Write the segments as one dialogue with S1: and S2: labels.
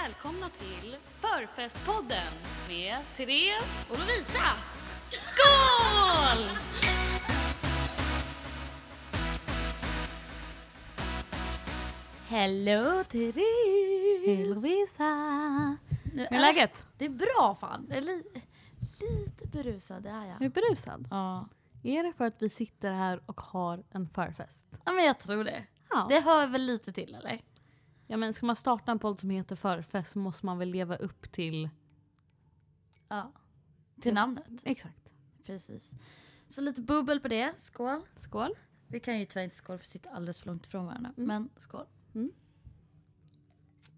S1: välkomna till Förfestpodden med Therese
S2: Och Lovisa!
S1: Skål!
S2: Hello Therese!
S1: Lovisa!
S2: Nu
S1: Hur är läget?
S2: Det är bra fan. Jag är li- lite berusad, det är
S1: Är du
S2: jag.
S1: berusad?
S2: Ja.
S1: Är det för att vi sitter här och har en förfest?
S2: ja men jag tror det.
S1: Ja.
S2: Det hör väl lite till eller?
S1: ja men ska man starta en podd som heter Förfest så måste man väl leva upp till...
S2: Ja. Till namnet.
S1: Exakt.
S2: Precis. Så lite bubbel på det. Skål.
S1: Skål.
S2: Vi kan ju tyvärr inte skål för vi sitter alldeles för långt ifrån varandra.
S1: Mm.
S2: Men skål.
S1: Mm.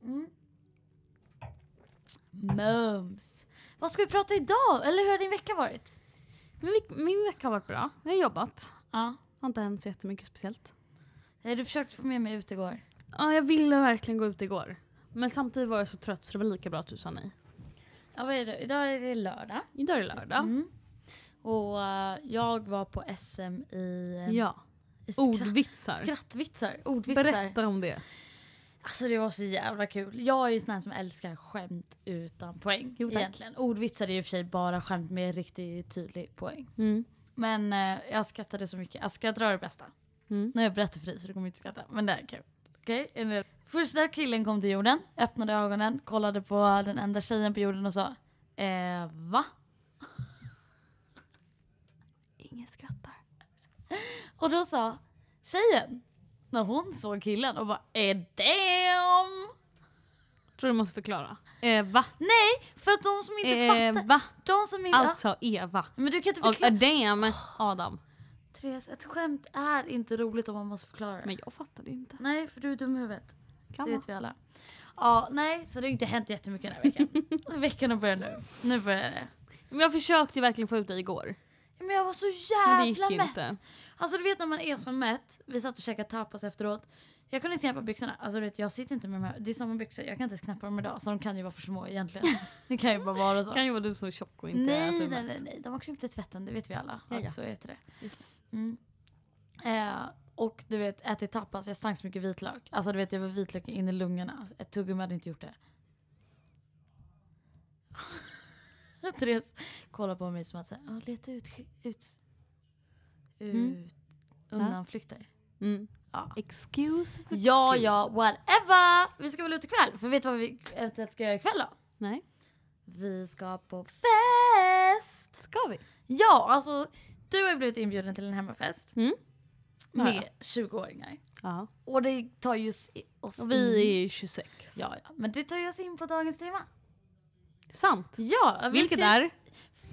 S2: Mm. Mums. Vad ska vi prata idag? Eller hur har din vecka varit?
S1: Men vi- min vecka har varit bra. Jag har jobbat.
S2: Ja.
S1: Har inte hänt så jättemycket speciellt.
S2: Du försökte få med mig ut igår.
S1: Ja, jag ville verkligen gå ut igår. Men samtidigt var jag så trött så det var lika bra att du sa nej.
S2: Ja, vad är det? Idag är det lördag.
S1: Idag är det lördag.
S2: Mm. Och eh, jag var på SM i eh,
S1: Ja.
S2: i skra-
S1: Ordvitsar.
S2: Skrattvitsar. Ordvitsar.
S1: Berätta om det.
S2: Alltså det var så jävla kul. Jag är ju sån här som älskar skämt utan poäng.
S1: Jo, tack.
S2: egentligen. Ordvitsar är ju i och för sig bara skämt med riktigt tydlig poäng. Men eh, jag skrattade så mycket. Alltså ska jag dra det bästa?
S1: Mm.
S2: Nu har jag berättat för dig så du kommer inte skratta. Men det här är kul. Okej? Är ni redo? Första killen kom till jorden, öppnade ögonen, kollade på den enda tjejen på jorden och sa eh, va?
S1: Ingen skrattar.
S2: Och då sa tjejen, när hon såg killen och bara eh damn!
S1: Tror du måste förklara. Eva.
S2: Nej, för att de som inte fattar,
S1: Eva.
S2: de som inte...
S1: Alltså Eva.
S2: Men du kan inte
S1: Eh, Och eh,
S2: förklara.
S1: a damn Adam.
S2: Therese, ett skämt är inte roligt om man måste förklara det.
S1: Men jag fattade inte.
S2: Nej, för du är dum i huvudet.
S1: Kan
S2: det
S1: man?
S2: vet vi alla. Ja, nej, så det har inte hänt jättemycket den här veckan. Veckorna börjar nu. Nu börjar det.
S1: Men jag försökte ju verkligen få ut dig igår.
S2: Men jag var så
S1: Men det gick
S2: jävla mätt.
S1: inte.
S2: Alltså du vet när man är som mätt, vi satt och käkade tapas efteråt. Jag kunde inte knäppa byxorna. Alltså du vet jag sitter inte med de här, det är samma byxor, jag kan inte ens knäppa dem idag. Så de kan ju vara för små egentligen. Det kan ju bara vara så.
S1: Kan ju vara du som är tjock och inte
S2: Nej,
S1: äter
S2: nej,
S1: med.
S2: nej, nej, de har krympt i tvätten, det vet vi alla.
S1: Ja, ja.
S2: Att så heter det.
S1: Just
S2: Mm. Eh, och du vet, ätit tapas, jag stank så mycket vitlök. Alltså du vet, jag var vitlök in i lungorna. Ett tuggummi hade inte gjort det. Therese kollar på mig som att säga, leta ut, sk- ut, ut
S1: Mm.
S2: undanflykter.
S1: Mm.
S2: Ja.
S1: Excuses.
S2: Ja, ja, whatever! Vi ska väl ut ikväll, för vet du vad vi eventuellt ska göra ikväll då?
S1: Nej.
S2: Vi ska på fest!
S1: Ska vi?
S2: Ja, alltså du har ju blivit inbjuden till en hemmafest
S1: Mm. Ja,
S2: med 20-åringar.
S1: Ja.
S2: Och det tar ju s- oss
S1: Och vi
S2: in.
S1: är ju 26.
S2: Ja, ja, men det tar ju oss in på dagens tema.
S1: Sant.
S2: Ja, vi
S1: Vilket
S2: ska-
S1: är?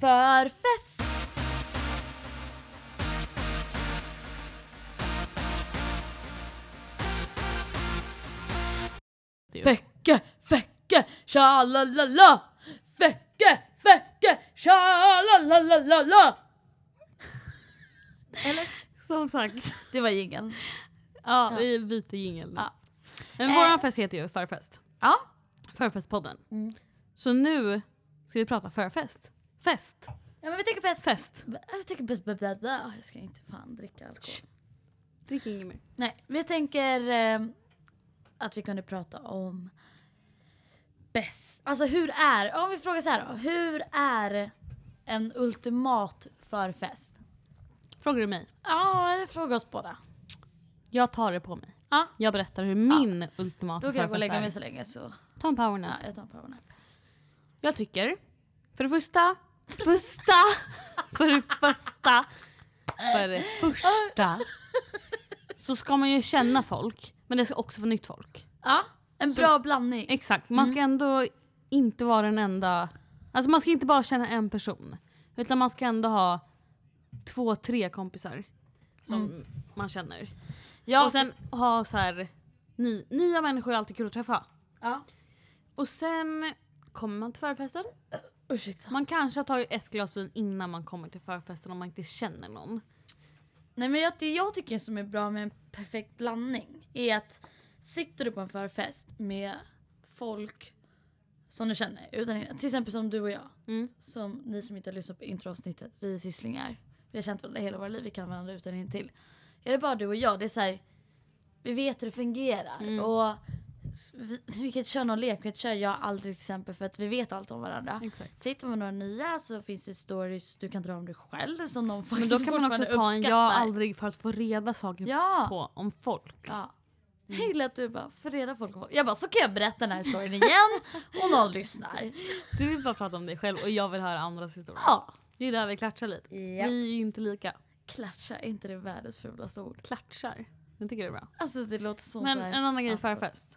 S2: Förfest! Fäcke, fäcke, tjalalala! Fäcke, fäcke, tjalalalala! Eller?
S1: Som sagt.
S2: Det var jingeln.
S1: Ja,
S2: Ja.
S1: vi byter jingel nu.
S2: Ja.
S1: Men
S2: Eh.
S1: våran fest heter ju Förfest.
S2: Ja.
S1: Förfestpodden.
S2: Mm.
S1: Så nu ska vi prata förfest. Fest.
S2: Ja men vi tänker på ett
S1: Fest.
S2: Jag tänker på blablabla. Jag ska inte fan dricka alkohol.
S1: Drick inget mer.
S2: Nej, men jag tänker eh, att vi kunde prata om bäst. Alltså hur är, om vi frågar så här då. Hur är en ultimat förfest?
S1: Frågar du mig?
S2: Ja, jag frågar oss båda.
S1: Jag tar det på mig.
S2: Ja.
S1: Jag berättar hur min ultimata
S2: Då kan jag gå och
S1: förfest
S2: lägga
S1: är.
S2: mig så länge så.
S1: Ta en power
S2: Ja,
S1: nap.
S2: jag tar en powernap.
S1: Jag tycker, för det första, första, för det första, för det första så ska man ju känna folk men det ska också vara nytt folk.
S2: Ja, en
S1: Så-
S2: bra blandning.
S1: Exakt, man ska
S2: Mm.
S1: ändå inte vara den enda... Alltså man ska inte bara känna en person. Utan man ska ändå ha två, tre kompisar som man känner.
S2: Mm. Ja,
S1: Och sen ha så här, ny, nya människor är alltid kul att träffa.
S2: ja.
S1: Och sen kommer man till förfesten.
S2: Ursäkta.
S1: Man kanske har tagit ett glas vin innan man kommer till förfesten om man inte känner någon.
S2: Nej men jag, det jag tycker som är bra med en perfekt blandning är att sitter du på en förfest med folk som du känner, utan, till exempel som du och jag,
S1: Mm.
S2: som ni som inte har lyssnat på introavsnittet, vi är sysslingar. Vi har känt varandra hela våra liv, vi kan varandra utan
S1: Mm.
S2: in till. Är det bara du och jag, det är så här, vi vet hur det fungerar och s- vi- vilket kön och lek, vilket kör jag aldrig till exempel för att vi vet allt om varandra.
S1: Exakt.
S2: Sitter man med några nya så finns det stories du kan dra om dig själv som någon
S1: Men
S2: faktiskt
S1: då kan man också
S2: fortfarande
S1: ta en
S2: uppskattar.
S1: jag aldrig för att få reda saker
S2: Ja.
S1: på om folk.
S2: Ja. Jag gillar att du bara får reda folk om folk. Jag bara, så kan jag berätta den här storyn igen och någon lyssnar.
S1: Du vill bara prata om dig själv och jag vill höra andras historier.
S2: Ja.
S1: Det är där vi klatschar lite. Vi är ju inte lika.
S2: Klatscha, är inte det världens fulaste ord?
S1: Klatschar. Jag tycker det är bra.
S2: Alltså det låter som
S1: Men
S2: så här-
S1: en annan grej
S2: Ja,
S1: i förfest.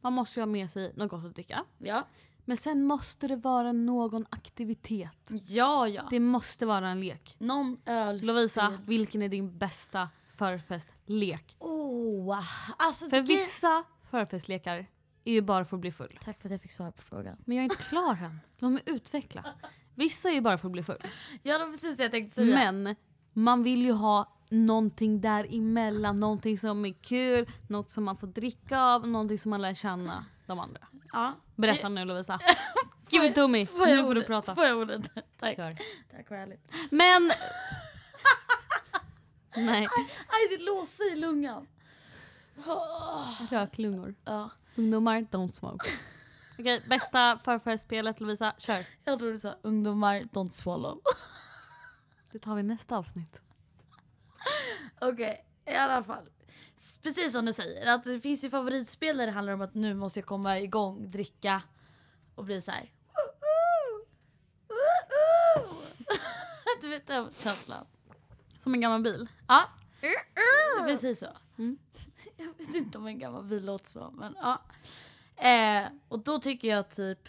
S1: Man måste ju ha med sig något gott att dricka.
S2: Ja.
S1: Men sen måste det vara någon aktivitet.
S2: Ja, ja.
S1: Det måste vara en lek.
S2: Någon öl.
S1: Lovisa, vilken är din bästa förfestlek?
S2: Oh, alltså
S1: För
S2: det-
S1: vissa förfestlekar är ju bara för att bli full.
S2: Tack för att jag fick svar på frågan.
S1: Men jag är inte klar än. Låt mig utveckla. Vissa är ju bara för att bli full.
S2: Ja, det var precis det jag tänkte säga.
S1: Men man vill ju ha någonting däremellan. Någonting som är kul, något som man får dricka av, någonting som man lär känna de andra.
S2: ja.
S1: Berätta nu Lovisa. Give it to me.
S2: Får jag
S1: Nu får du
S2: ordet?
S1: prata.
S2: Får jag ordet? Tack.
S1: Kör.
S2: Tack vad härligt.
S1: Men... Nej,
S2: Aj, det låser i lungan. Åh.
S1: röklungor.
S2: Ja,
S1: Ungdomar, don't smoke. Okej, bästa förfestspelet Lovisa, kör.
S2: jag tror du sa ungdomar don't swallow.
S1: Det tar vi i nästa avsnitt.
S2: Okej, i alla fall. S- Precis som du säger, att det finns ju favoritspel där det handlar om att nu måste jag komma igång, dricka och bli så här. "Woo-oo! Woo-oo!" du vet den känslan.
S1: Som en gammal bil.
S2: Ja. Precis så.
S1: Mm.
S2: Jag vet inte om en gammal bil låter så, men ja. Eh, och då tycker jag typ...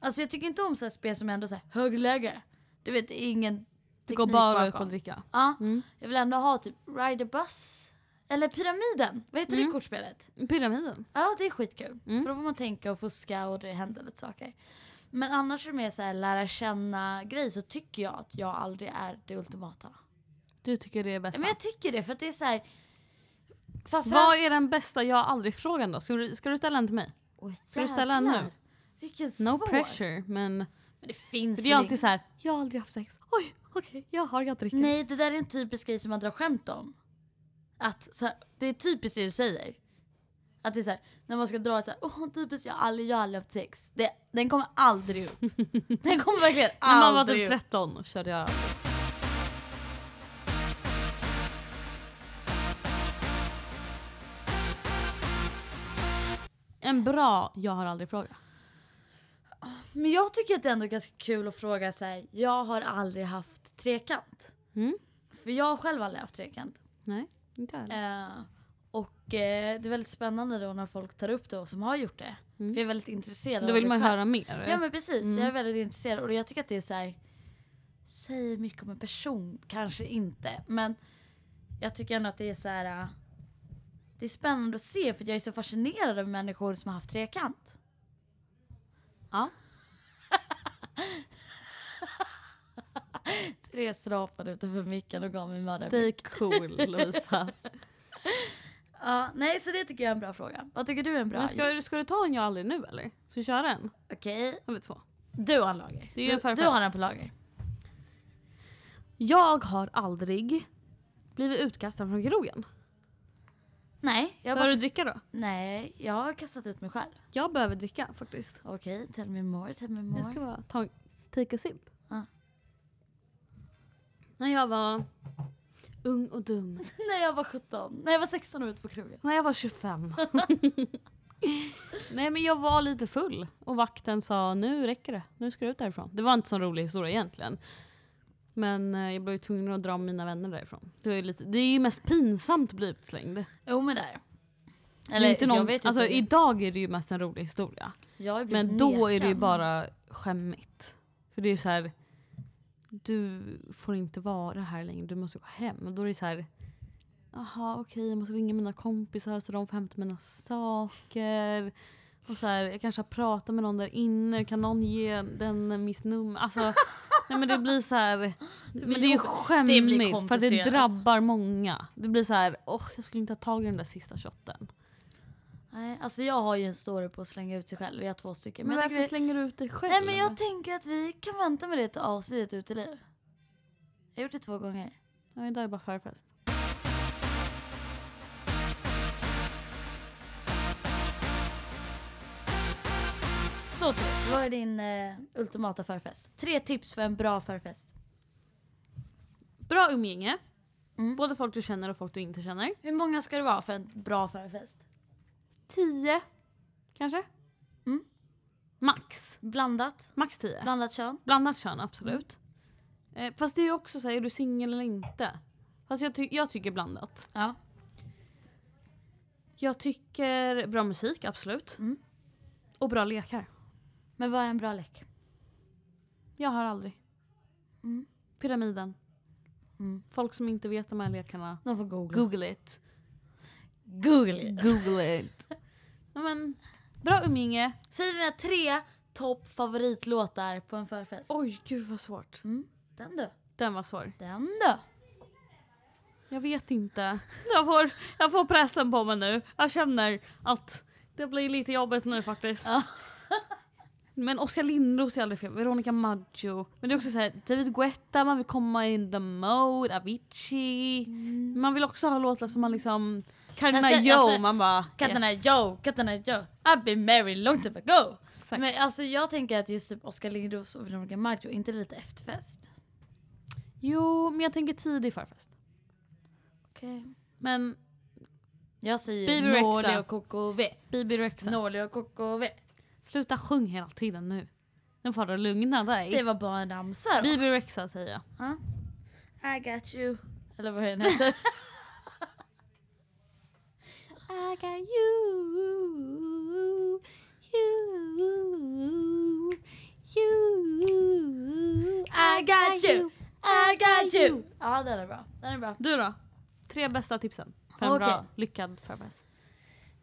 S2: Alltså jag tycker inte om så här spel som är ändå så här högläge. Du vet, det är ingen
S1: Det
S2: teknik
S1: går bara ut på att
S2: bakom.
S1: dricka.
S2: Ja.
S1: Mm.
S2: Jag vill ändå ha typ Ride a Bus. Eller Pyramiden. Vad heter det
S1: Mm.
S2: kortspelet?
S1: Pyramiden.
S2: Ja, det är skitkul.
S1: Mm.
S2: För då får man tänka och fuska och det händer lite saker. Men annars är det mer så här lära känna grej så tycker jag att jag aldrig är det ultimata.
S1: Du tycker det är
S2: Ja,
S1: bästa.
S2: Men jag tycker det för att det är så här... Framförallt...
S1: Vad är den bästa jag aldrig-frågan då? Ska du, ska du ställa en till mig?
S2: Åh,
S1: Ska du ställa en nu?
S2: jävlar. Vilken svår.
S1: No pressure, men...
S2: Men det finns
S1: För det är
S2: väl
S1: alltid
S2: ing-
S1: så här. jag har aldrig haft sex. Oj, okej, jag har, jag dricker.
S2: Nej, det där är en typisk grej som man drar skämt om. Att så här, det är typiskt det du säger. Att det är så här, när man ska dra ett så här, åh typiskt jag har aldrig, jag har aldrig haft sex. Det, den kommer aldrig upp. Den kommer verkligen
S1: När man var
S2: aldrig
S1: typ
S2: upp.
S1: 13 och körde jag. En bra jag har aldrig fråga.
S2: Men jag tycker att det är ändå ganska kul att fråga så här, jag har aldrig haft trekant.
S1: Mm.
S2: För jag har själv aldrig haft trekant.
S1: Nej, inte jag heller.
S2: Eh, och eh, det är väldigt spännande då när folk tar upp det och som har gjort det.
S1: Mm.
S2: För jag är väldigt intresserad
S1: Då vill
S2: det
S1: man ju
S2: själv.
S1: höra mer.
S2: Ja men precis,
S1: Mm.
S2: jag är väldigt intresserad och jag tycker att det är så här. Säger mycket om en person, kanske inte. Men jag tycker ändå att det är så här. äh, Det är spännande att se för jag är så fascinerad av människor som har haft trekant.
S1: Ja.
S2: Therese rapade utanför micken och gav mig
S1: Stay
S2: mördarbyn.
S1: cool Lovisa.
S2: Ja, nej så det tycker jag är en bra fråga. Vad tycker du är en bra?
S1: Men ska, ska du ta en jag aldrig nu eller? Så kör en.
S2: Okej,
S1: Eller två.
S2: du har en lager.
S1: Det är ju en
S2: du,
S1: förfest.
S2: du har den på lager.
S1: Jag har aldrig blivit utkastad från krogen.
S2: Nej, jag har
S1: Behöver
S2: bara...
S1: du dricka då?
S2: Nej, jag har kastat ut mig själv.
S1: Jag behöver dricka faktiskt.
S2: Okej, tell me more, tell me
S1: Jag ska
S2: more.
S1: bara ta en take a sip.
S2: Ja.
S1: När jag var ung och dum.
S2: När jag var 17, när jag var 16 och ute på krogen.
S1: När jag var 25. Nej men jag var lite full och vakten sa nu räcker det, nu ska du ut därifrån. Det var inte så en rolig historia egentligen. Men eh, jag blev ju tvungen att dra mina vänner därifrån. Det, var ju lite, det är ju mest pinsamt att bli utslängd.
S2: Jo men där.
S1: Eller, inte någon,
S2: jag vet inte.
S1: alltså, idag är det ju mest en rolig historia.
S2: jag har ju blivit
S1: Men då är det ju
S2: nekad.
S1: bara skämmigt. För det är ju så här. Du får inte vara här längre, du måste gå hem. Och då är det så här. Jaha okej jag måste ringa mina kompisar så de får hämta mina saker. Och så här, jag kanske har pratat med någon där inne, kan någon ge den mitt nummer? Alltså, nej men det blir så här, men det är ju
S2: jobbigt. Det blir
S1: skämmigt för det
S2: komplicerat.
S1: drabbar många. Det blir så här, åh jag skulle inte ha tagit den där sista shotten.
S2: Nej, alltså jag har ju en story på att slänga ut sig själv, jag har två stycken.
S1: Men,
S2: jag
S1: varför
S2: tycker vi...
S1: slänger du ut dig själv?
S2: Nej men jag tänker att vi kan vänta med det till avsnittet ut i liv. Jag har gjort det två gånger.
S1: Ja, idag är bara förfest.
S2: Så Therese, vad är din eh, ultimata förfest? Tre tips för en bra förfest.
S1: Bra umgänge.
S2: Mm.
S1: Både folk du känner och folk du inte känner.
S2: Hur många ska det vara för en bra förfest?
S1: Tio, kanske?
S2: Mm.
S1: Max.
S2: Blandat?
S1: Max tio.
S2: Blandat kön?
S1: Blandat kön, absolut. Eh, fast det är ju också så här, är du singel eller inte? Fast jag, ty- jag tycker blandat.
S2: Ja.
S1: Jag tycker bra musik, absolut.
S2: Mm.
S1: Och bra lekar.
S2: Men vad är en bra lek?
S1: Jag har aldrig.
S2: Mm.
S1: Pyramiden.
S2: Mm.
S1: Folk som inte vet de här lekarna.
S2: De får googla.
S1: Google it.
S2: Google it.
S1: Google it. ja, men, bra umgänge.
S2: Säg dina tre topp favoritlåtar på en förfest.
S1: Oj, gud vad svårt.
S2: Mm. Den du.
S1: Den var svår.
S2: Den du.
S1: Jag vet inte. Jag får, jag får pressen på mig nu. Jag känner att det blir lite jobbigt nu faktiskt.
S2: Ja.
S1: Men Oskar Lindros är aldrig fel. Veronica Maggio. Men det är också såhär, David Guetta, man vill komma in the mode, Avicii. Man vill också ha låtar som man liksom... Carolina
S2: Mm. Jag känner-
S1: Yo,
S2: alltså,
S1: man bara...
S2: Katterna yo, katterna yo. I've been married long time ago.
S1: Exakt.
S2: Men alltså jag tänker att just typ Oskar Lindros och Veronica Maggio inte lite efterfest.
S1: Jo, men jag tänker tidig förfest.
S2: Okej.
S1: Men
S2: Jag säger
S1: Baby Rexa.
S2: Norli och KKV.
S1: Bibi Rexa,
S2: Norli och KKV.
S1: sluta sjung hela tiden nu. Nu får du lugna dig.
S2: Det var bara en ramsa då.
S1: Bibi Rexa säger jag.
S2: I got you. Eller vad den heter.
S1: I got you, you, you.
S2: I got you, I got you. Ja den är bra. Den är bra.
S1: Du då? Tre bästa tipsen för en
S2: Okej.
S1: bra lyckad förfest.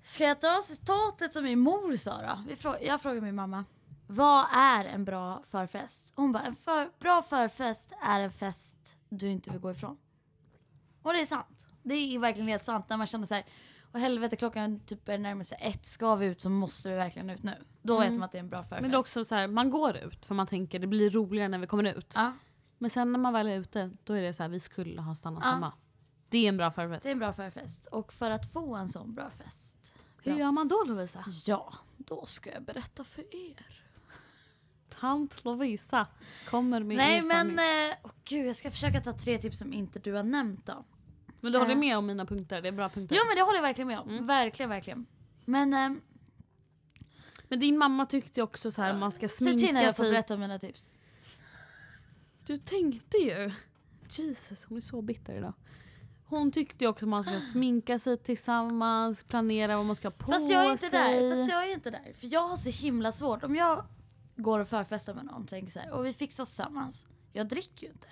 S2: Ska jag ta citatet som min mor sa då? Vi frå- Jag frågar min mamma. Vad är en bra förfest? Hon bara, en för- bra förfest är en fest du inte vill gå ifrån. Och det är sant. Det är verkligen helt sant. När man känner så här, åh helvete klockan typ är närmare sig ett, ska vi ut så måste vi verkligen ut nu. Då vet man att det är en bra förfest.
S1: Mm. Men det är också så här, man går ut för man tänker det blir roligare när vi kommer ut.
S2: Ja,
S1: Men sen när man väl är ute då är det så här, vi skulle ha stannat
S2: Ja.
S1: hemma. Det är en bra förfest.
S2: det är en bra förfest. Och för att få en sån bra fest,
S1: Hur gör man då Lovisa?
S2: ja, då ska jag berätta för er.
S1: Tant Lovisa kommer med
S2: Nej
S1: erfarenhet.
S2: men, eh, åh gud jag ska försöka ta tre tips som inte du har nämnt då.
S1: Men du håller
S2: eh.
S1: med om mina punkter, det är bra punkter.
S2: Jo men det håller jag verkligen med om.
S1: Mm.
S2: Verkligen, verkligen. Men ehm,
S1: Men din mamma tyckte ju också så här man ska
S2: se till när
S1: sminka
S2: jag får
S1: sig.
S2: berätta om mina tips.
S1: Du tänkte ju. Jesus, hon är så bitter idag. Hon tyckte ju också att man
S2: Ah.
S1: ska sminka sig tillsammans, planera vad man ska ha på
S2: Fast jag är inte
S1: sig.
S2: där. Fast jag är inte där. För jag har så himla svårt. Om jag går och förfestar med någon och tänker så här, och vi fixar oss tillsammans. Jag dricker ju inte.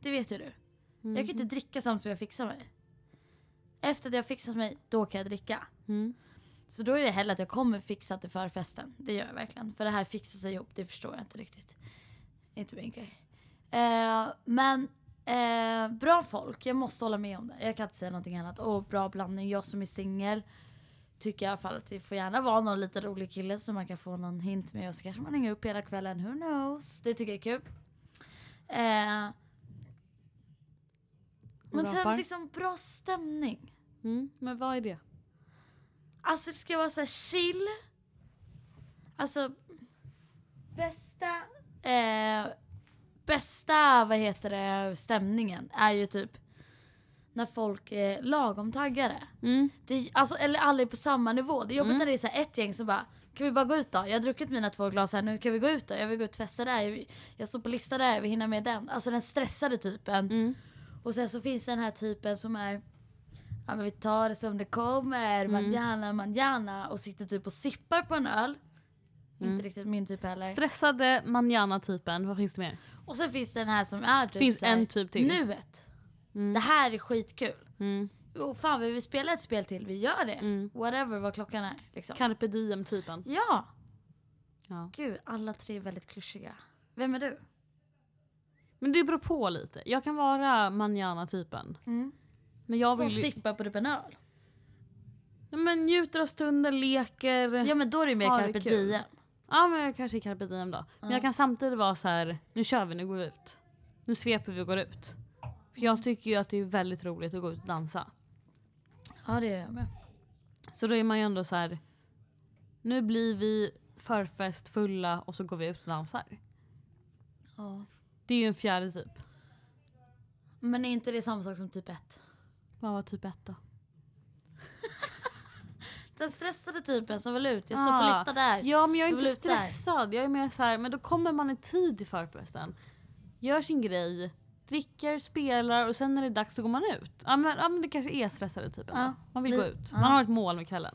S2: Det vet ju du.
S1: Mm.
S2: Jag kan inte dricka samtidigt som jag fixar mig. Efter att jag har fixat mig, då kan jag dricka.
S1: Mm.
S2: Så då är det hellre att jag kommer fixa till förfesten. Det gör jag verkligen. För det här fixar sig ihop, det förstår jag inte riktigt. Inte min grej. Eh, men eh, bra folk, jag måste hålla med om det. Jag kan inte säga någonting annat. Och bra blandning, jag som är singel. Tycker i alla fall att det får gärna vara någon lite rolig kille som man kan få någon hint med och så kanske man hänger upp hela kvällen, who knows? Det tycker jag är kul. Eh, men
S1: Rapar.
S2: sen liksom bra stämning.
S1: Mm. Men vad är det?
S2: Alltså det ska vara så här chill. Alltså bästa... Eh, bästa, vad heter det, stämningen är ju typ när folk är lagom taggade.
S1: Mm.
S2: Det, alltså, eller alla är på samma nivå. Det är jobbigt
S1: Mm.
S2: när det är så här ett gäng som bara kan vi bara gå ut då? Jag har druckit mina två glas här, nu kan vi gå ut då? Jag vill gå ut och festa där, jag, vill- jag står på lista där, jag vill hinna med den. Alltså den stressade typen.
S1: Mm.
S2: Och sen så finns den här typen som är Ja men vi tar det som det
S1: Mm.
S2: kommer, manjana manjana och sitter typ och sippar på en öl.
S1: Mm.
S2: Inte riktigt min typ heller.
S1: Stressade manjana-typen, vad finns det mer?
S2: och sen finns det den här som är typ
S1: finns
S2: så här,
S1: en typ till.
S2: nuet.
S1: Mm.
S2: Det här är skitkul.
S1: Mm.
S2: Oh, fan vill vi spela ett spel till? Vi gör det.
S1: Mm.
S2: Whatever vad klockan är. Liksom.
S1: Carpe diem-typen.
S2: Ja!
S1: Ja.
S2: Gud, alla tre är väldigt klyschiga. Vem är du?
S1: Men det beror på lite. Jag kan vara manjana-typen.
S2: Mm.
S1: Men jag
S2: Som
S1: vill ju...
S2: sippar på typ en öl.
S1: Ja, men njuter av stunden, leker.
S2: Ja men då är det ju mer
S1: Har det
S2: carpe
S1: kul.
S2: diem.
S1: Ja men jag kanske är carpe diem då. Men
S2: Ja.
S1: jag kan samtidigt vara så här: nu kör vi, nu går vi ut. Nu sveper vi och går ut. För jag
S2: Mm.
S1: tycker ju att det är väldigt roligt att gå ut och dansa.
S2: Ja det gör jag med.
S1: Så då är man ju ändå så här. nu blir vi förfest, fulla och så går vi ut och dansar.
S2: Ja.
S1: Det är ju en fjärde typ.
S2: Men är inte det samma sak som typ 1?
S1: Vad var typ ett då?
S2: Den stressade typen som vill ut. Jag står på
S1: Ah.
S2: lista där.
S1: Ja men jag är
S2: Du vill
S1: inte
S2: ut där.
S1: stressad. Jag är mer så här, men då kommer man i tid till förfesten. Gör sin grej, dricker, spelar och sen när det är dags så går man ut. Ja men, ja, men det kanske är stressade typen.
S2: Ja.
S1: Man vill
S2: Vi-
S1: gå ut.
S2: ja.
S1: Man har ett mål med kvällen.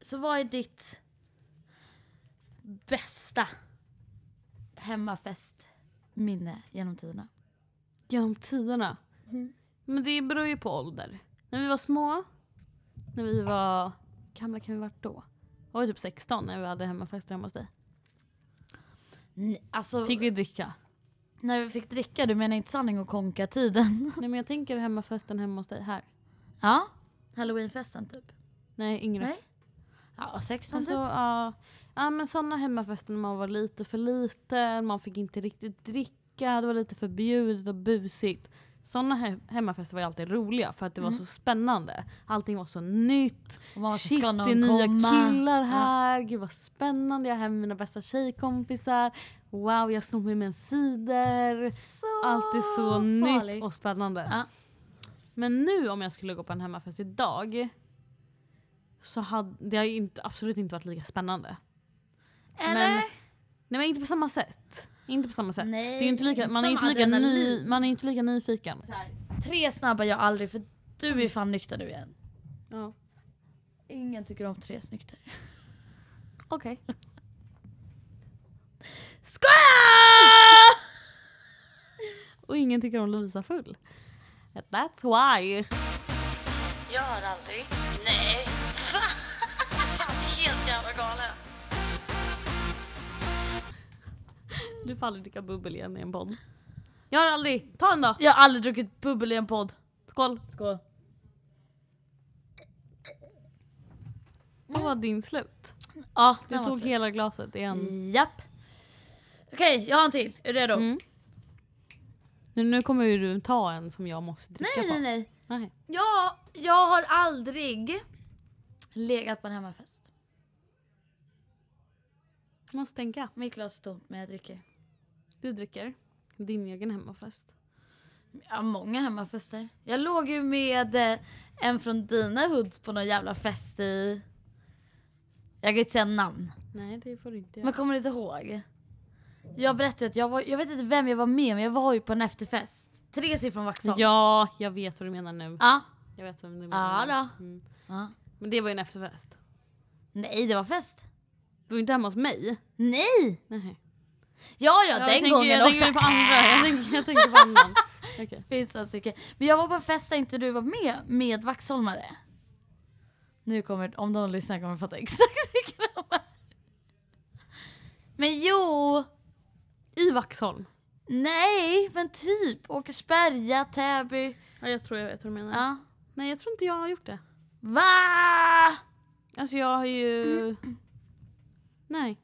S2: Så vad är ditt bästa hemmafestminne genom tiderna?
S1: Genom tiderna.
S2: Mm.
S1: Men det beror ju på ålder. När vi var små, när vi var... hur gamla kan vi varit då? Jag var typ 16 när vi hade hemmafester hemma hos dig.
S2: Ni- Alltså,
S1: Fick vi dricka?
S2: när vi fick dricka, du menar inte sanning och konka tiden?
S1: Nej men jag tänker hemmafesten hemma hos dig här.
S2: Ja, halloweenfesten typ.
S1: Nej yngre.
S2: Nej. Ja, 16
S1: Alltså,
S2: typ.
S1: ja. ja men sådana hemmafester när man var lite för liten, man fick inte riktigt dricka, det var lite förbjudet och busigt. Sådana he- hemmafester var ju alltid roliga för att det var så spännande. Allting var så nytt.
S2: Mm. Och man var så,
S1: Shit,
S2: ska
S1: det är
S2: någon
S1: nya
S2: komma?
S1: killar här. Gud vad spännande. Jag har hem mina bästa tjejkompisar. Wow, jag snor med mig en cider.
S2: Så
S1: Allt är så
S2: farligt.
S1: nytt och spännande.
S2: Ja.
S1: Men nu om jag skulle gå på en hemmafest idag så hade det har ju inte, absolut inte varit lika spännande.
S2: Eller?
S1: Men- Nej men inte på samma sätt. Inte på samma sätt.
S2: Nej,
S1: det är ju inte lika, man, är
S2: inte
S1: inte lika
S2: samma
S1: ny,
S2: adrenalin.
S1: man är inte lika nyfiken.
S2: Så här, tre snabba jag aldrig, för du är fan nykter nu igen.
S1: Ja.
S2: Ingen tycker om tre snykter.
S1: Okej.
S2: Skoja!
S1: Och ingen tycker om Lovisa full. That's why.
S2: Jag har aldrig. Nej. Fan, helt jävla galen.
S1: Du får aldrig dricka bubbel igen i en podd. Jag har aldrig. Ta en då.
S2: Jag har aldrig druckit bubbel i en podd.
S1: Skål.
S2: Skål.
S1: Det var din slut.
S2: Ja,
S1: Du tog
S2: Mm. slut. Mm.
S1: hela glaset i en.
S2: Japp. Okej, jag har en till. Är du redo?
S1: Mm. Nu, nu kommer ju du ta en som jag måste dricka
S2: Nej,
S1: på.
S2: nej, nej.
S1: nej.
S2: Jag, jag har aldrig legat på en hemmafest.
S1: Jag måste tänka.
S2: Mitt glas är tomt men jag dricker.
S1: Du dricker. Din egen hemmafest.
S2: Ja, många hemmafester. Jag låg ju med eh, en från dina hoods på någon jävla fest i... Jag kan inte säga namn.
S1: Nej det får du inte göra.
S2: Men kommer du inte ihåg? Jag berättade att jag var, jag vet inte vem jag var med men jag var ju på en efterfest. Tre siffror Vaxholm.
S1: Ja, jag vet vad du menar nu.
S2: Ja.
S1: Jag vet vem du
S2: Ja
S1: menar. nu.
S2: då.
S1: Mm.
S2: Ja.
S1: Men det var ju en efterfest.
S2: Nej det var fest.
S1: Du var inte hemma hos mig.
S2: Nej!
S1: Nej.
S2: Ja ja,
S1: jag
S2: den
S1: tänker,
S2: gången
S1: jag
S2: också.
S1: Tänker på andra. Jag tänker, jag tänker på annan. Okej.
S2: Finns alltså inte. Men jag var på en fest där inte du var med, med Vaxholmare. Nu kommer, om de lyssnar kommer de fatta exakt vilka de är. Men jo!
S1: I Vaxholm.
S2: Nej, men typ. Åkersberga, Täby.
S1: Ja, jag tror jag vet vad du menar.
S2: Ja.
S1: Nej jag tror inte jag har gjort det.
S2: Va?
S1: Alltså jag har ju... Nej.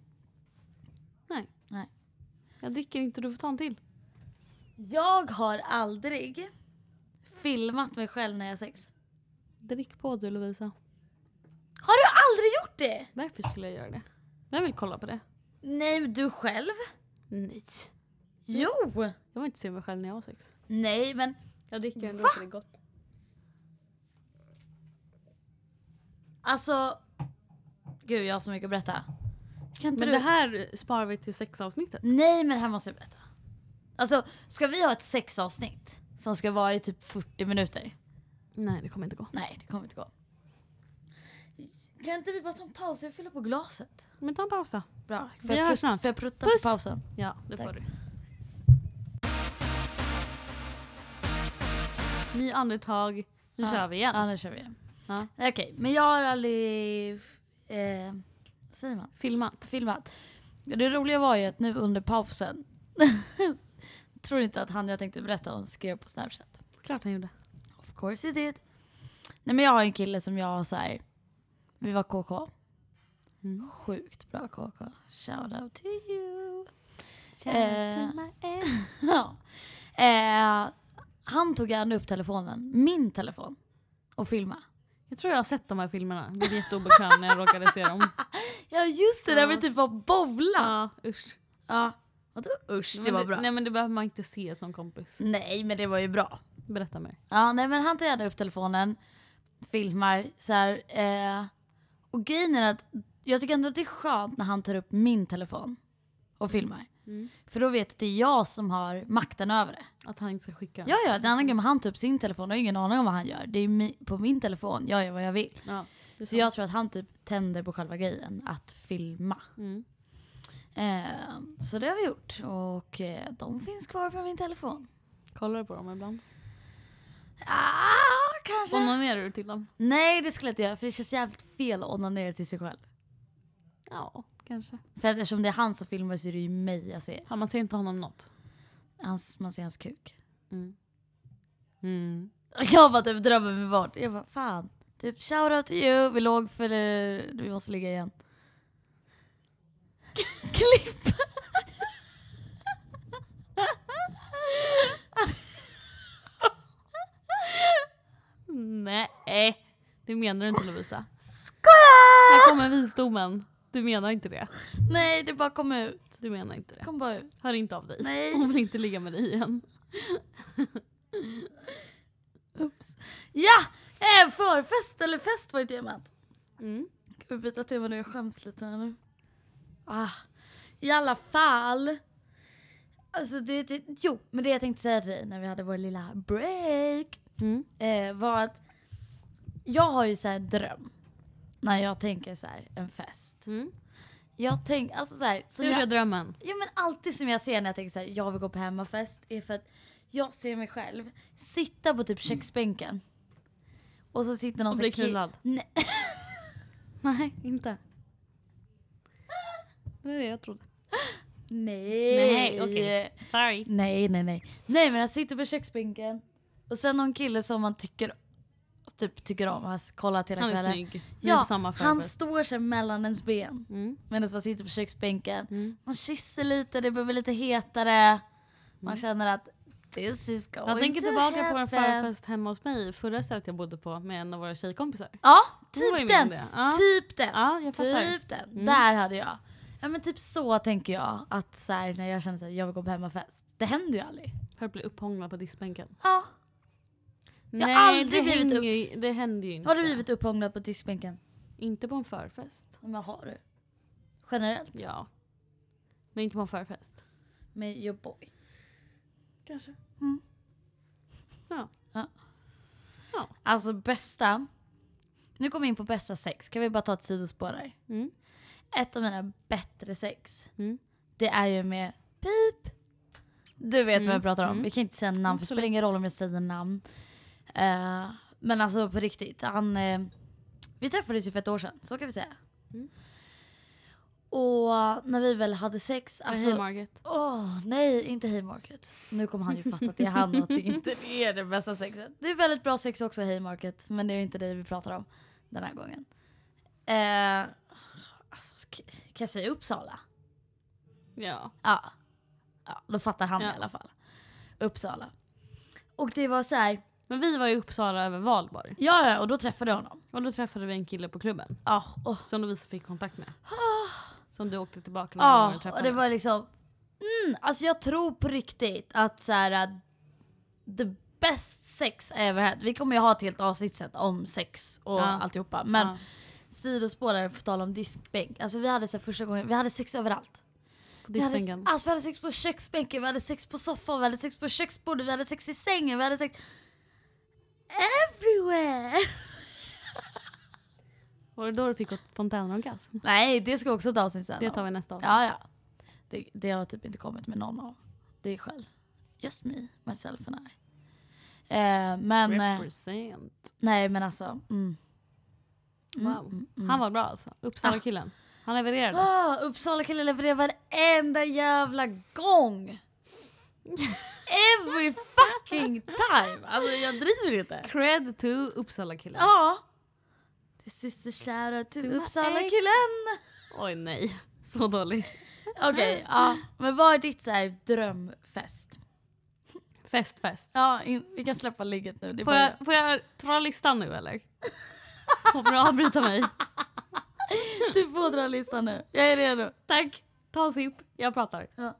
S1: Nej.
S2: Nej.
S1: Jag dricker inte, du får ta en till.
S2: Jag har aldrig filmat mig själv när jag har sex.
S1: Drick på du Lovisa.
S2: Har du aldrig gjort det?
S1: Varför skulle jag göra det? Vem vill kolla på det?
S2: Nej, men du själv?
S1: Nej.
S2: Jo!
S1: Jag vill inte se mig själv när jag har sex.
S2: Nej, men
S1: Jag dricker ändå för det är gott.
S2: alltså... Gud, jag har så mycket att berätta. Kan inte
S1: Men
S2: du...
S1: det här sparar vi till sexavsnittet.
S2: Nej, men det här måste jag berätta. Alltså, ska vi ha ett sexavsnitt som ska vara i typ 40 minuter?
S1: Nej det kommer inte gå.
S2: Nej, det kommer inte gå. Kan inte vi bara ta en paus? Jag fyller på glaset.
S1: Men ta en paus då.
S2: Bra.
S1: Vi
S2: Får jag,
S1: hörs
S2: prut-
S1: snart.
S2: får jag prutta
S1: Puss.
S2: på pausen?
S1: Ja det
S2: Tack.
S1: får du. Ny andetag. Nu
S2: Ja.
S1: kör vi igen.
S2: Ja, nu kör vi igen.
S1: Ja.
S2: Okej, men jag har aldrig... Eh, vad säger man?
S1: Filmat.
S2: Filmat. Det roliga var ju att nu under pausen tror inte att han jag tänkte berätta om skrev på Snapchat.
S1: Klart han gjorde.
S2: Of course it did. Nej men jag har en kille som jag så här. Vi var KK.
S1: Mm.
S2: Sjukt bra KK. Shout out to you.
S1: Shout out to
S2: Eh. Ja. Eh, han han tog gärna upp telefonen, min telefon, och filmade.
S1: Jag tror jag har sett de här filmerna. Jag blev jätteobekväm när jag råkade se dem.
S2: Ja just det, där
S1: Ja.
S2: vi typ var bovla.
S1: Ja, usch.
S2: Ja. Vadå usch, det
S1: Men
S2: var bra.
S1: Nej men det behöver man inte se som kompis.
S2: Nej men det var ju bra.
S1: Berätta mer.
S2: Ja, nej men han tar gärna upp telefonen, filmar så här. Eh, och grejen är att jag tycker ändå att det är skönt när han tar upp min telefon och filmar.
S1: Mm.
S2: För då vet jag att det är jag som har makten över det.
S1: Att han inte ska skicka.
S2: Ja, ja, den andra gången han tar upp sin telefon, jag har ingen aning om vad han gör. Det är mi- på min telefon, jag gör vad jag vill.
S1: Ja, det är
S2: Så jag tror att han typ tänder på själva grejen, att filma.
S1: Mm.
S2: Eh, så det har vi gjort. Och eh, de finns kvar på min telefon.
S1: Kollar du på dem ibland?
S2: Ah, kanske.
S1: Onanerar du till dem?
S2: Nej det skulle jag inte göra för det känns jävligt fel att onanera till sig själv.
S1: Ja, kanske.
S2: För att eftersom det är han som filmar så är det ju mig jag ser.
S1: Ja, man ser inte honom något.
S2: Hans, man ser hans kuk.
S1: Mm. Mm.
S2: Och Jag bara typ drömmer mig bort. Jag bara fan. Typ shout out to you, vi låg för det, vi måste ligga igen. Klipp!
S1: Nej, det menar du inte Lovisa. Här
S2: Skoja!
S1: kommer visdomen. Du menar inte det.
S2: Nej det bara kom ut.
S1: Du menar inte det.
S2: Kom bara ut.
S1: Hör inte av dig.
S2: Nej.
S1: Hon vill inte ligga med dig igen.
S2: Ja! Eh, förfest eller fest var ju temat.
S1: Mm.
S2: Ska vi byta tema nu? Jag skäms lite här nu. Ah, I alla fall. Alltså det, det, jo, men det jag tänkte säga till dig när vi hade vår lilla break
S1: Mm.
S2: eh, var att jag har ju så här en dröm när jag tänker så här en fest.
S1: Mm.
S2: Jag tänker, alltså så här, som
S1: Hur är
S2: jag,
S1: drömmen?
S2: ja, men alltid som jag ser när jag tänker så här, jag vill gå på hemmafest är för att jag ser mig själv sitta på typ köksbänken och så sitter någon
S1: Och
S2: så
S1: bli
S2: här ki-
S1: knullad?
S2: Nej.
S1: Nej, inte. Det är det jag trodde.
S2: Nej,
S1: Nej, okej. Sorry.
S2: Nej, nej, nej. Nej, men jag sitter på köksbänken och sen någon kille som man tycker typ tycker om, har kollat hela
S1: Han är
S2: kvällen.
S1: snygg. Ni är
S2: Ja,
S1: på samma
S2: han
S1: förfest.
S2: står sig mellan ens ben
S1: Mm.
S2: medan man sitter på köksbänken.
S1: Mm.
S2: Man kysser lite, det blir väl lite hetare. Man känner att this is going
S1: Mm. Jag tänker
S2: to
S1: tillbaka på en
S2: happen.
S1: förfest hemma hos mig, förra stället jag bodde på med en av våra tjejkompisar.
S2: Ja,
S1: Hon var ju
S2: typ
S1: med om
S2: den.
S1: det. Ja.
S2: Typ den.
S1: Ja, jag fattar. Mm.
S2: Typ den. Där hade jag. Ja men typ så tänker jag att så här, när jag känner att jag vill gå på hemmafest. Det händer ju aldrig.
S1: För att bli upphånglad på diskbänken.
S2: Ja. Jag har
S1: Nej,
S2: aldrig
S1: det,
S2: blivit
S1: händer ju, det händer ju inte.
S2: Har du blivit upphånglad på diskbänken?
S1: Inte på en förfest.
S2: Men har du? Generellt?
S1: Ja. Men inte på en förfest.
S2: Med your boy. Mm.
S1: Kanske.
S2: Alltså bästa. Nu kommer vi in på bästa sex. Kan vi bara ta ett sidospår där?
S1: Mm.
S2: Ett av mina bättre sex.
S1: Mm.
S2: Det är ju med pip. Du vet vad
S1: Mm,
S2: jag pratar om.
S1: mm.
S2: Vi kan inte säga namn för det spelar ingen roll om jag säger namn. Eh, men alltså på riktigt. Han, eh, vi träffades ju för ett år sedan. Så kan vi säga.
S1: Mm.
S2: Och när vi väl hade sex.
S1: Alltså,
S2: Alltså,
S1: Hej Margaret.
S2: Åh nej, inte Haymarket. Nu kommer han ju fatta att det är han och att det inte är det bästa sexet. Det är väldigt bra sex också Haymarket, men det är inte dig vi pratar om den här gången. Eh, alltså, ska, kan jag säga Uppsala?
S1: Ja.
S2: Ja. ja då fattar han
S1: Ja.
S2: i alla fall. Uppsala. Och det var så här,
S1: Men vi var i Uppsala över valborg.
S2: ja ja, och då träffade jag honom.
S1: Och då träffade vi en kille på klubben.
S2: Ja, och,
S1: Som Lovisa fick kontakt med. Som du åkte tillbaka några gånger
S2: ja
S1: och träffade.
S2: Ah, och det var liksom, mm, alltså jag tror på riktigt att så här, att the best sex I ever had. Vi kommer ju ha ett helt avsnitt sen om sex och
S1: Ja.
S2: alltihopa. Men
S1: Ja.
S2: sidospår där, på tal om diskbänk. Alltså vi hade så här, första gången, vi hade sex överallt.
S1: På
S2: Vi hade,
S1: diskbänken.
S2: alltså, vi hade sex på köksbänken, vi hade sex på soffan, vi hade sex på köksbordet, vi hade sex i sängen, vi hade sex... Everywhere!
S1: Var det då du fick fontänorgasm?
S2: Nej, det ska också ett avsnitt sen
S1: Det
S2: om.
S1: tar vi nästa avsnitt.
S2: Ja, ja. Det, det har typ inte kommit med någon av. Det är själv. Just me, myself and I. Eh, men, eh,
S1: Represent.
S2: nej men alltså. Mm. Mm,
S1: Wow.
S2: mm,
S1: Han var bra alltså. Uppsala-killen. Han levererade.
S2: Ah, Uppsala kille levererar varenda jävla gång! Every fucking time! Alltså jag driver inte.
S1: Cred to Uppsala-killen.
S2: Ja. This is the shoutout to
S1: To my
S2: Uppsala
S1: ex.
S2: killen!
S1: Oj nej. Så dålig. Mm.
S2: Okej, ja. Men vad är ditt så här, drömfest?
S1: Fest, fest.
S2: Ja, in, vi kan släppa ligget nu. Det är
S1: Får
S2: bara
S1: jag, får jag dra listan nu eller? Kommer du avbryta mig?
S2: jag. Du får dra listan nu. Jag är redo.
S1: Tack. Ta en sipp. Jag pratar.
S2: Ja.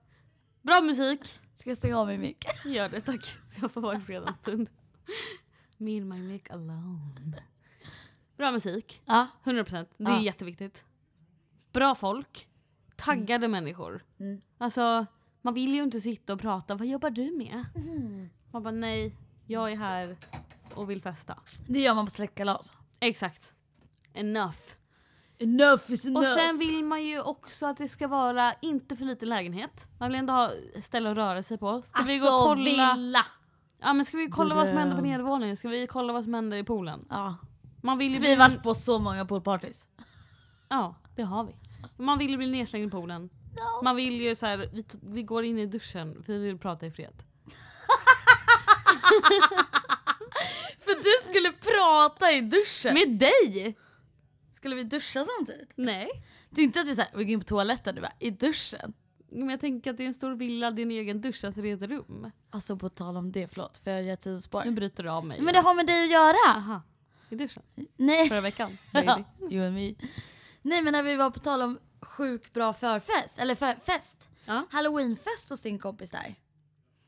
S1: Bra musik.
S2: Ska jag stänga av min mick?
S1: Gör det tack. Så jag får vara i fred en stund. Me and my mic alone. Bra musik.
S2: Ja.
S1: 100%. Det är
S2: Ja.
S1: jätteviktigt. Bra folk. Taggade människor.
S2: Mm.
S1: Alltså, man vill ju inte sitta och prata. Vad jobbar du med?
S2: Mm.
S1: Man bara nej, jag är här och vill festa.
S2: Det gör man på släktkalas.
S1: Exakt. Enough.
S2: Enough is
S1: Och sen vill man ju också att det ska vara inte för liten lägenhet. Man vill ändå ha ställe att röra sig på. Ska vi gå och
S2: alltså
S1: kolla,
S2: villa!
S1: ja, men ska vi kolla vad som händer på
S2: Dröm.
S1: nedervåningen? Ska vi kolla vad som händer i poolen?
S2: Ja.
S1: Man vill ju
S2: Vi har varit på så många poolpartys.
S1: Ja, det har vi. Man vill ju bli nedslängd i poolen. Man vill ju så här, vi, t- vi går in i duschen för vi vill prata i fred.
S2: För du skulle prata i duschen!
S1: Med dig?
S2: Skulle vi duscha samtidigt?
S1: Nej.
S2: Det är inte att vi såhär, vi går in på toaletten du bara, i duschen.
S1: Men jag tänker att det är en stor villa, det är en egen dusch, alltså det är ett rum.
S2: Alltså på tal om det, förlåt för jag gör ett sidospår.
S1: Nu bryter du av mig.
S2: Men det har med dig att göra!
S1: Aha. I duschen?
S2: Nej.
S1: Förra veckan? Baby.
S2: you and me. Nej men när vi var på tal om sjukt bra förfest, eller för, fest.
S1: Ja.
S2: Halloweenfest hos din kompis där.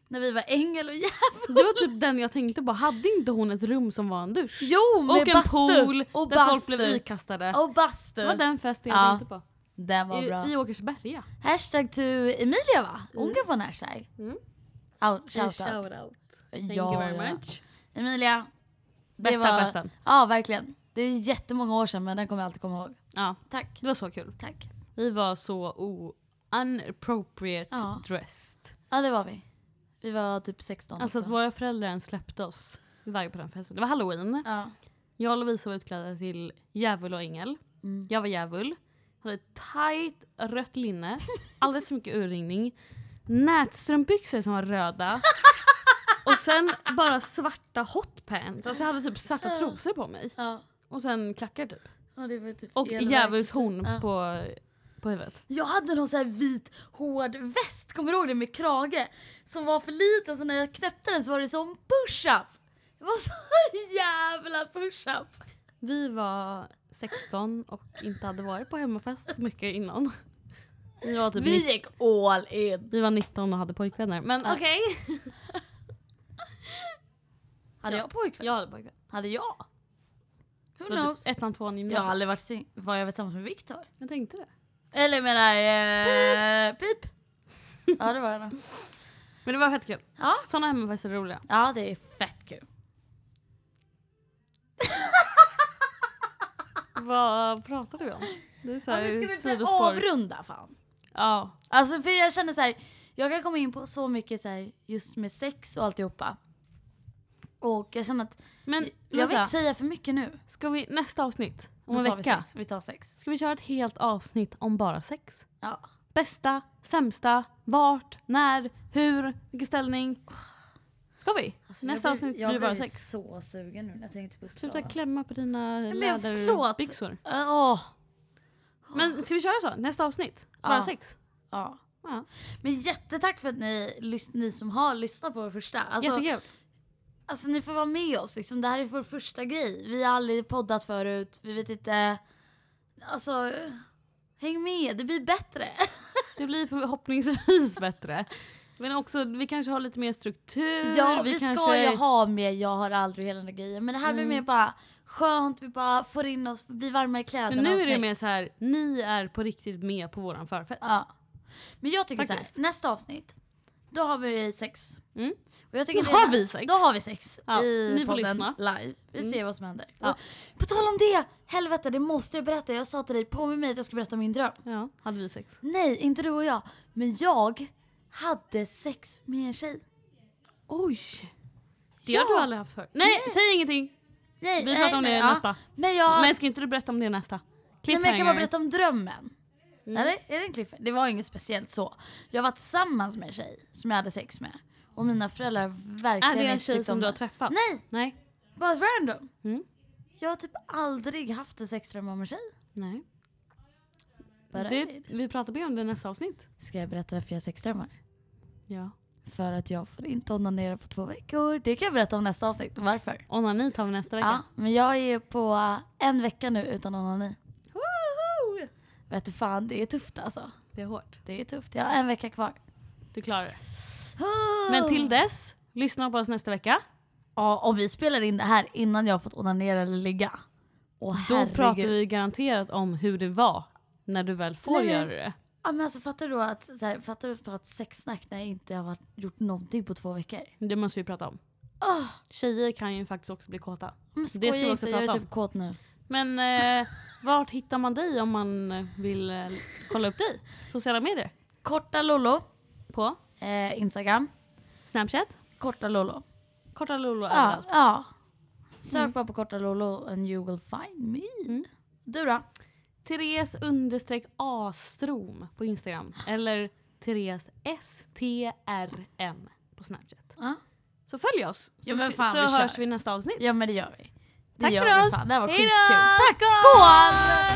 S2: När vi var ängel och djävul.
S1: Det var typ den jag tänkte på, hade inte hon ett rum som var en dusch?
S2: Jo med
S1: och en
S2: bastu!
S1: pool
S2: och
S1: där
S2: bastu.
S1: folk blev ikastade.
S2: Och bastu.
S1: Det var den festen
S2: Ja.
S1: jag tänkte på.
S2: Den var bra.
S1: I, I Åkersberga.
S2: Hashtag to Emilia va? Hon kan få en hashtag.
S1: Mm.
S2: Out, shout out.
S1: Eh, out. Thank you
S2: Ja,
S1: very
S2: ja.
S1: much.
S2: Emilia. det
S1: Bästa
S2: var-
S1: festen.
S2: Ja verkligen. Det är jättemånga år sedan men den kommer jag alltid komma ihåg.
S1: Ja,
S2: Tack.
S1: det var så kul.
S2: Tack.
S1: Vi var så o- unappropriate
S2: Ja.
S1: dressed.
S2: Ja det var vi. Vi var typ 16
S1: Alltså att
S2: också.
S1: våra föräldrar ens släppte oss iväg på den festen. Det var halloween.
S2: Ja.
S1: Jag och Lovisa var utklädda till djävul och ängel.
S2: Mm.
S1: Jag var djävul. Hade ett tajt rött linne. Alldeles för mycket urringning. Nätstrumpbyxor som var röda. Och sen bara svarta hotpants. Alltså jag hade typ svarta trosor på mig.
S2: Ja.
S1: Och sen klackar typ.
S2: ja det var typ
S1: Och
S2: elakt.
S1: djävulshorn
S2: Ja.
S1: på, på huvudet.
S2: Jag hade någon sån här vit hård väst, kommer du ihåg det? Med krage. Som var för liten så när jag knäppte den så var det som push-up. Det var så jävla push-up.
S1: Vi var 16 och inte hade varit på hemmafest mycket innan. Vi var, typ nitt-
S2: Vi gick all in.
S1: vi var 19 och hade pojkvänner. Men
S2: Ja.
S1: okej.
S2: Hade jag pojkvän?
S1: Jag hade pojkvän.
S2: Hade jag?
S1: Det
S2: Who
S1: var
S2: knows?
S1: typ Ettan, tvåan,
S2: Jag har
S1: gymnasiet.
S2: aldrig varit sing- Var jag tillsammans med Viktor?
S1: Jag tänkte det.
S2: Eller jag menar... Eh, pip. Ja det var jag nog.
S1: Men det var fett kul.
S2: Ja.
S1: Såna hemmafester är roliga.
S2: Ja det är fett kul.
S1: Vad pratade vi om? Det är så
S2: Ja,
S1: här,
S2: men ska vi börja
S1: sidospår.
S2: avrunda fan?
S1: Ja.
S2: Alltså för jag känner så här, jag kan komma in på så mycket så här, just med sex och alltihopa. Och jag känner att,
S1: Men
S2: jag vill
S1: Lovisa,
S2: inte säga för mycket nu.
S1: ska vi nästa avsnitt om
S2: Då
S1: en
S2: tar vi
S1: vecka?
S2: sex. Vi tar sex.
S1: Ska vi köra ett helt avsnitt om bara sex?
S2: Ja.
S1: Bästa, sämsta, vart, när, hur, vilken ställning? Ska vi?
S2: Alltså,
S1: nästa avsnitt blir bara sex.
S2: så sugen nu när jag typ tänkte på
S1: Sluta klämma på dina
S2: men jag-
S1: läderbyxor.
S2: Åh.
S1: Men ska vi köra så? Nästa avsnitt? Bara
S2: Ja.
S1: sex?
S2: Ja.
S1: Ja.
S2: Men jättetack för att ni, lys- ni som har lyssnat på vår första. Alltså,
S1: Jättekul.
S2: alltså ni får vara med oss liksom. Det här är vår första grej. Vi har aldrig poddat förut. Vi vet inte. Alltså. Häng med, det blir bättre.
S1: Det blir förhoppningsvis bättre. Men också, vi kanske har lite mer struktur.
S2: Ja, vi, ska
S1: Mm, kanske- Mm.
S2: ju ha med Jag har aldrig hela den där grejen. Men det här blir mer bara skönt, vi bara får in oss, blir varma i kläderna.
S1: Men nu
S2: och
S1: är det
S2: snyggt.
S1: mer så här, ni är på riktigt med på våran förfest.
S2: Ja. Men jag tycker
S1: Faktiskt.
S2: så här, nästa avsnitt, då har vi sex.
S1: Mm.
S2: Och jag tycker
S1: Då
S2: det är-
S1: har vi sex.
S2: Då har vi sex
S1: Ja,
S2: i
S1: ni får
S2: podden
S1: lyssna. Mm.
S2: live. Vi ser vad som händer.
S1: Ja.
S2: Och På tal om det, helvete det måste jag berätta. Jag sa till dig, påminn mig att jag ska berätta om min dröm.
S1: Ja, hade vi sex.
S2: Nej, inte du och jag. Men jag hade sex med en tjej.
S1: Oj! Det
S2: Ja.
S1: har du aldrig haft förr. Nej, säg ingenting!
S2: Nej,
S1: Vi
S2: nej,
S1: pratar om det
S2: nej,
S1: i
S2: ja.
S1: nästa.
S2: Men jag...
S1: Men ska inte du berätta om det i nästa?
S2: Nej, men jag kan bara
S1: Cliffhanger. Mm.
S2: berätta om drömmen. Eller? Är det en cliffhanger? Det var inget speciellt så. Jag var tillsammans med en tjej som jag hade sex med. Och mina föräldrar verkligen
S1: Är det en
S2: inte
S1: tjej
S2: tyckte om
S1: som du har
S2: det.
S1: träffat?
S2: Nej,
S1: Nej.
S2: bara random.
S1: Mm.
S2: Jag har typ aldrig haft en sexdröm om en tjej.
S1: Nej.
S2: Bara,
S1: Det, vi pratar mer om det i nästa avsnitt.
S2: Ska jag berätta varför jag har sexdrömmar?
S1: Ja.
S2: För att jag får inte onanera på två veckor. Det kan jag berätta om nästa avsnitt. Varför?
S1: Onani tar vi nästa
S2: Ja,
S1: vecka.
S2: men jag är på eh, en vecka nu utan onani.
S1: Woho!
S2: Vet du fan, det är tufft alltså.
S1: Det är hårt.
S2: Det är tufft. Jag har en vecka kvar.
S1: Du klarar det. Men
S2: Oh.
S1: till dess, lyssna på oss nästa vecka.
S2: Ja, och vi spelar in det här innan jag har fått onanera eller ligga. Åh
S1: Då
S2: herregud.
S1: pratar vi garanterat om hur det var när du väl får
S2: Nej, men-
S1: göra det.
S2: Ja, men alltså fattar du då att, så här, fattar du att prata sexsnack när jag inte har varit, gjort någonting på två veckor?
S1: Det måste vi prata om.
S2: Oh,
S1: Tjejer kan ju faktiskt också bli kåta.
S2: men
S1: ska vi
S2: skoja
S1: också
S2: inte, jag
S1: prata
S2: är
S1: om.
S2: typ kåt nu.
S1: Men eh, vart hittar man dig om man eh, vill eh, kolla upp dig? Sociala medier?
S2: Korta Lollo,
S1: På
S2: eh, Instagram.
S1: Snapchat?
S2: Korta Lollo.
S1: Korta Lollo
S2: Ja,
S1: överallt.
S2: ja. Sök bara på Korta Lollo and you will find me.
S1: Mm.
S2: Du då?
S1: Therese understreck Astrom på Instagram. Eller Therese STRM på Snapchat.
S2: Ja.
S1: Så följ oss
S2: Ja,
S1: så,
S2: men fan,
S1: så
S2: vi
S1: hörs
S2: kör.
S1: vi i nästa avsnitt.
S2: ja men det gör vi. Det
S1: Tack
S2: gör
S1: för
S2: vi
S1: oss.
S2: fan. Det här var
S1: Hej då.
S2: skitkul. Tack,
S1: Skål!
S2: skål!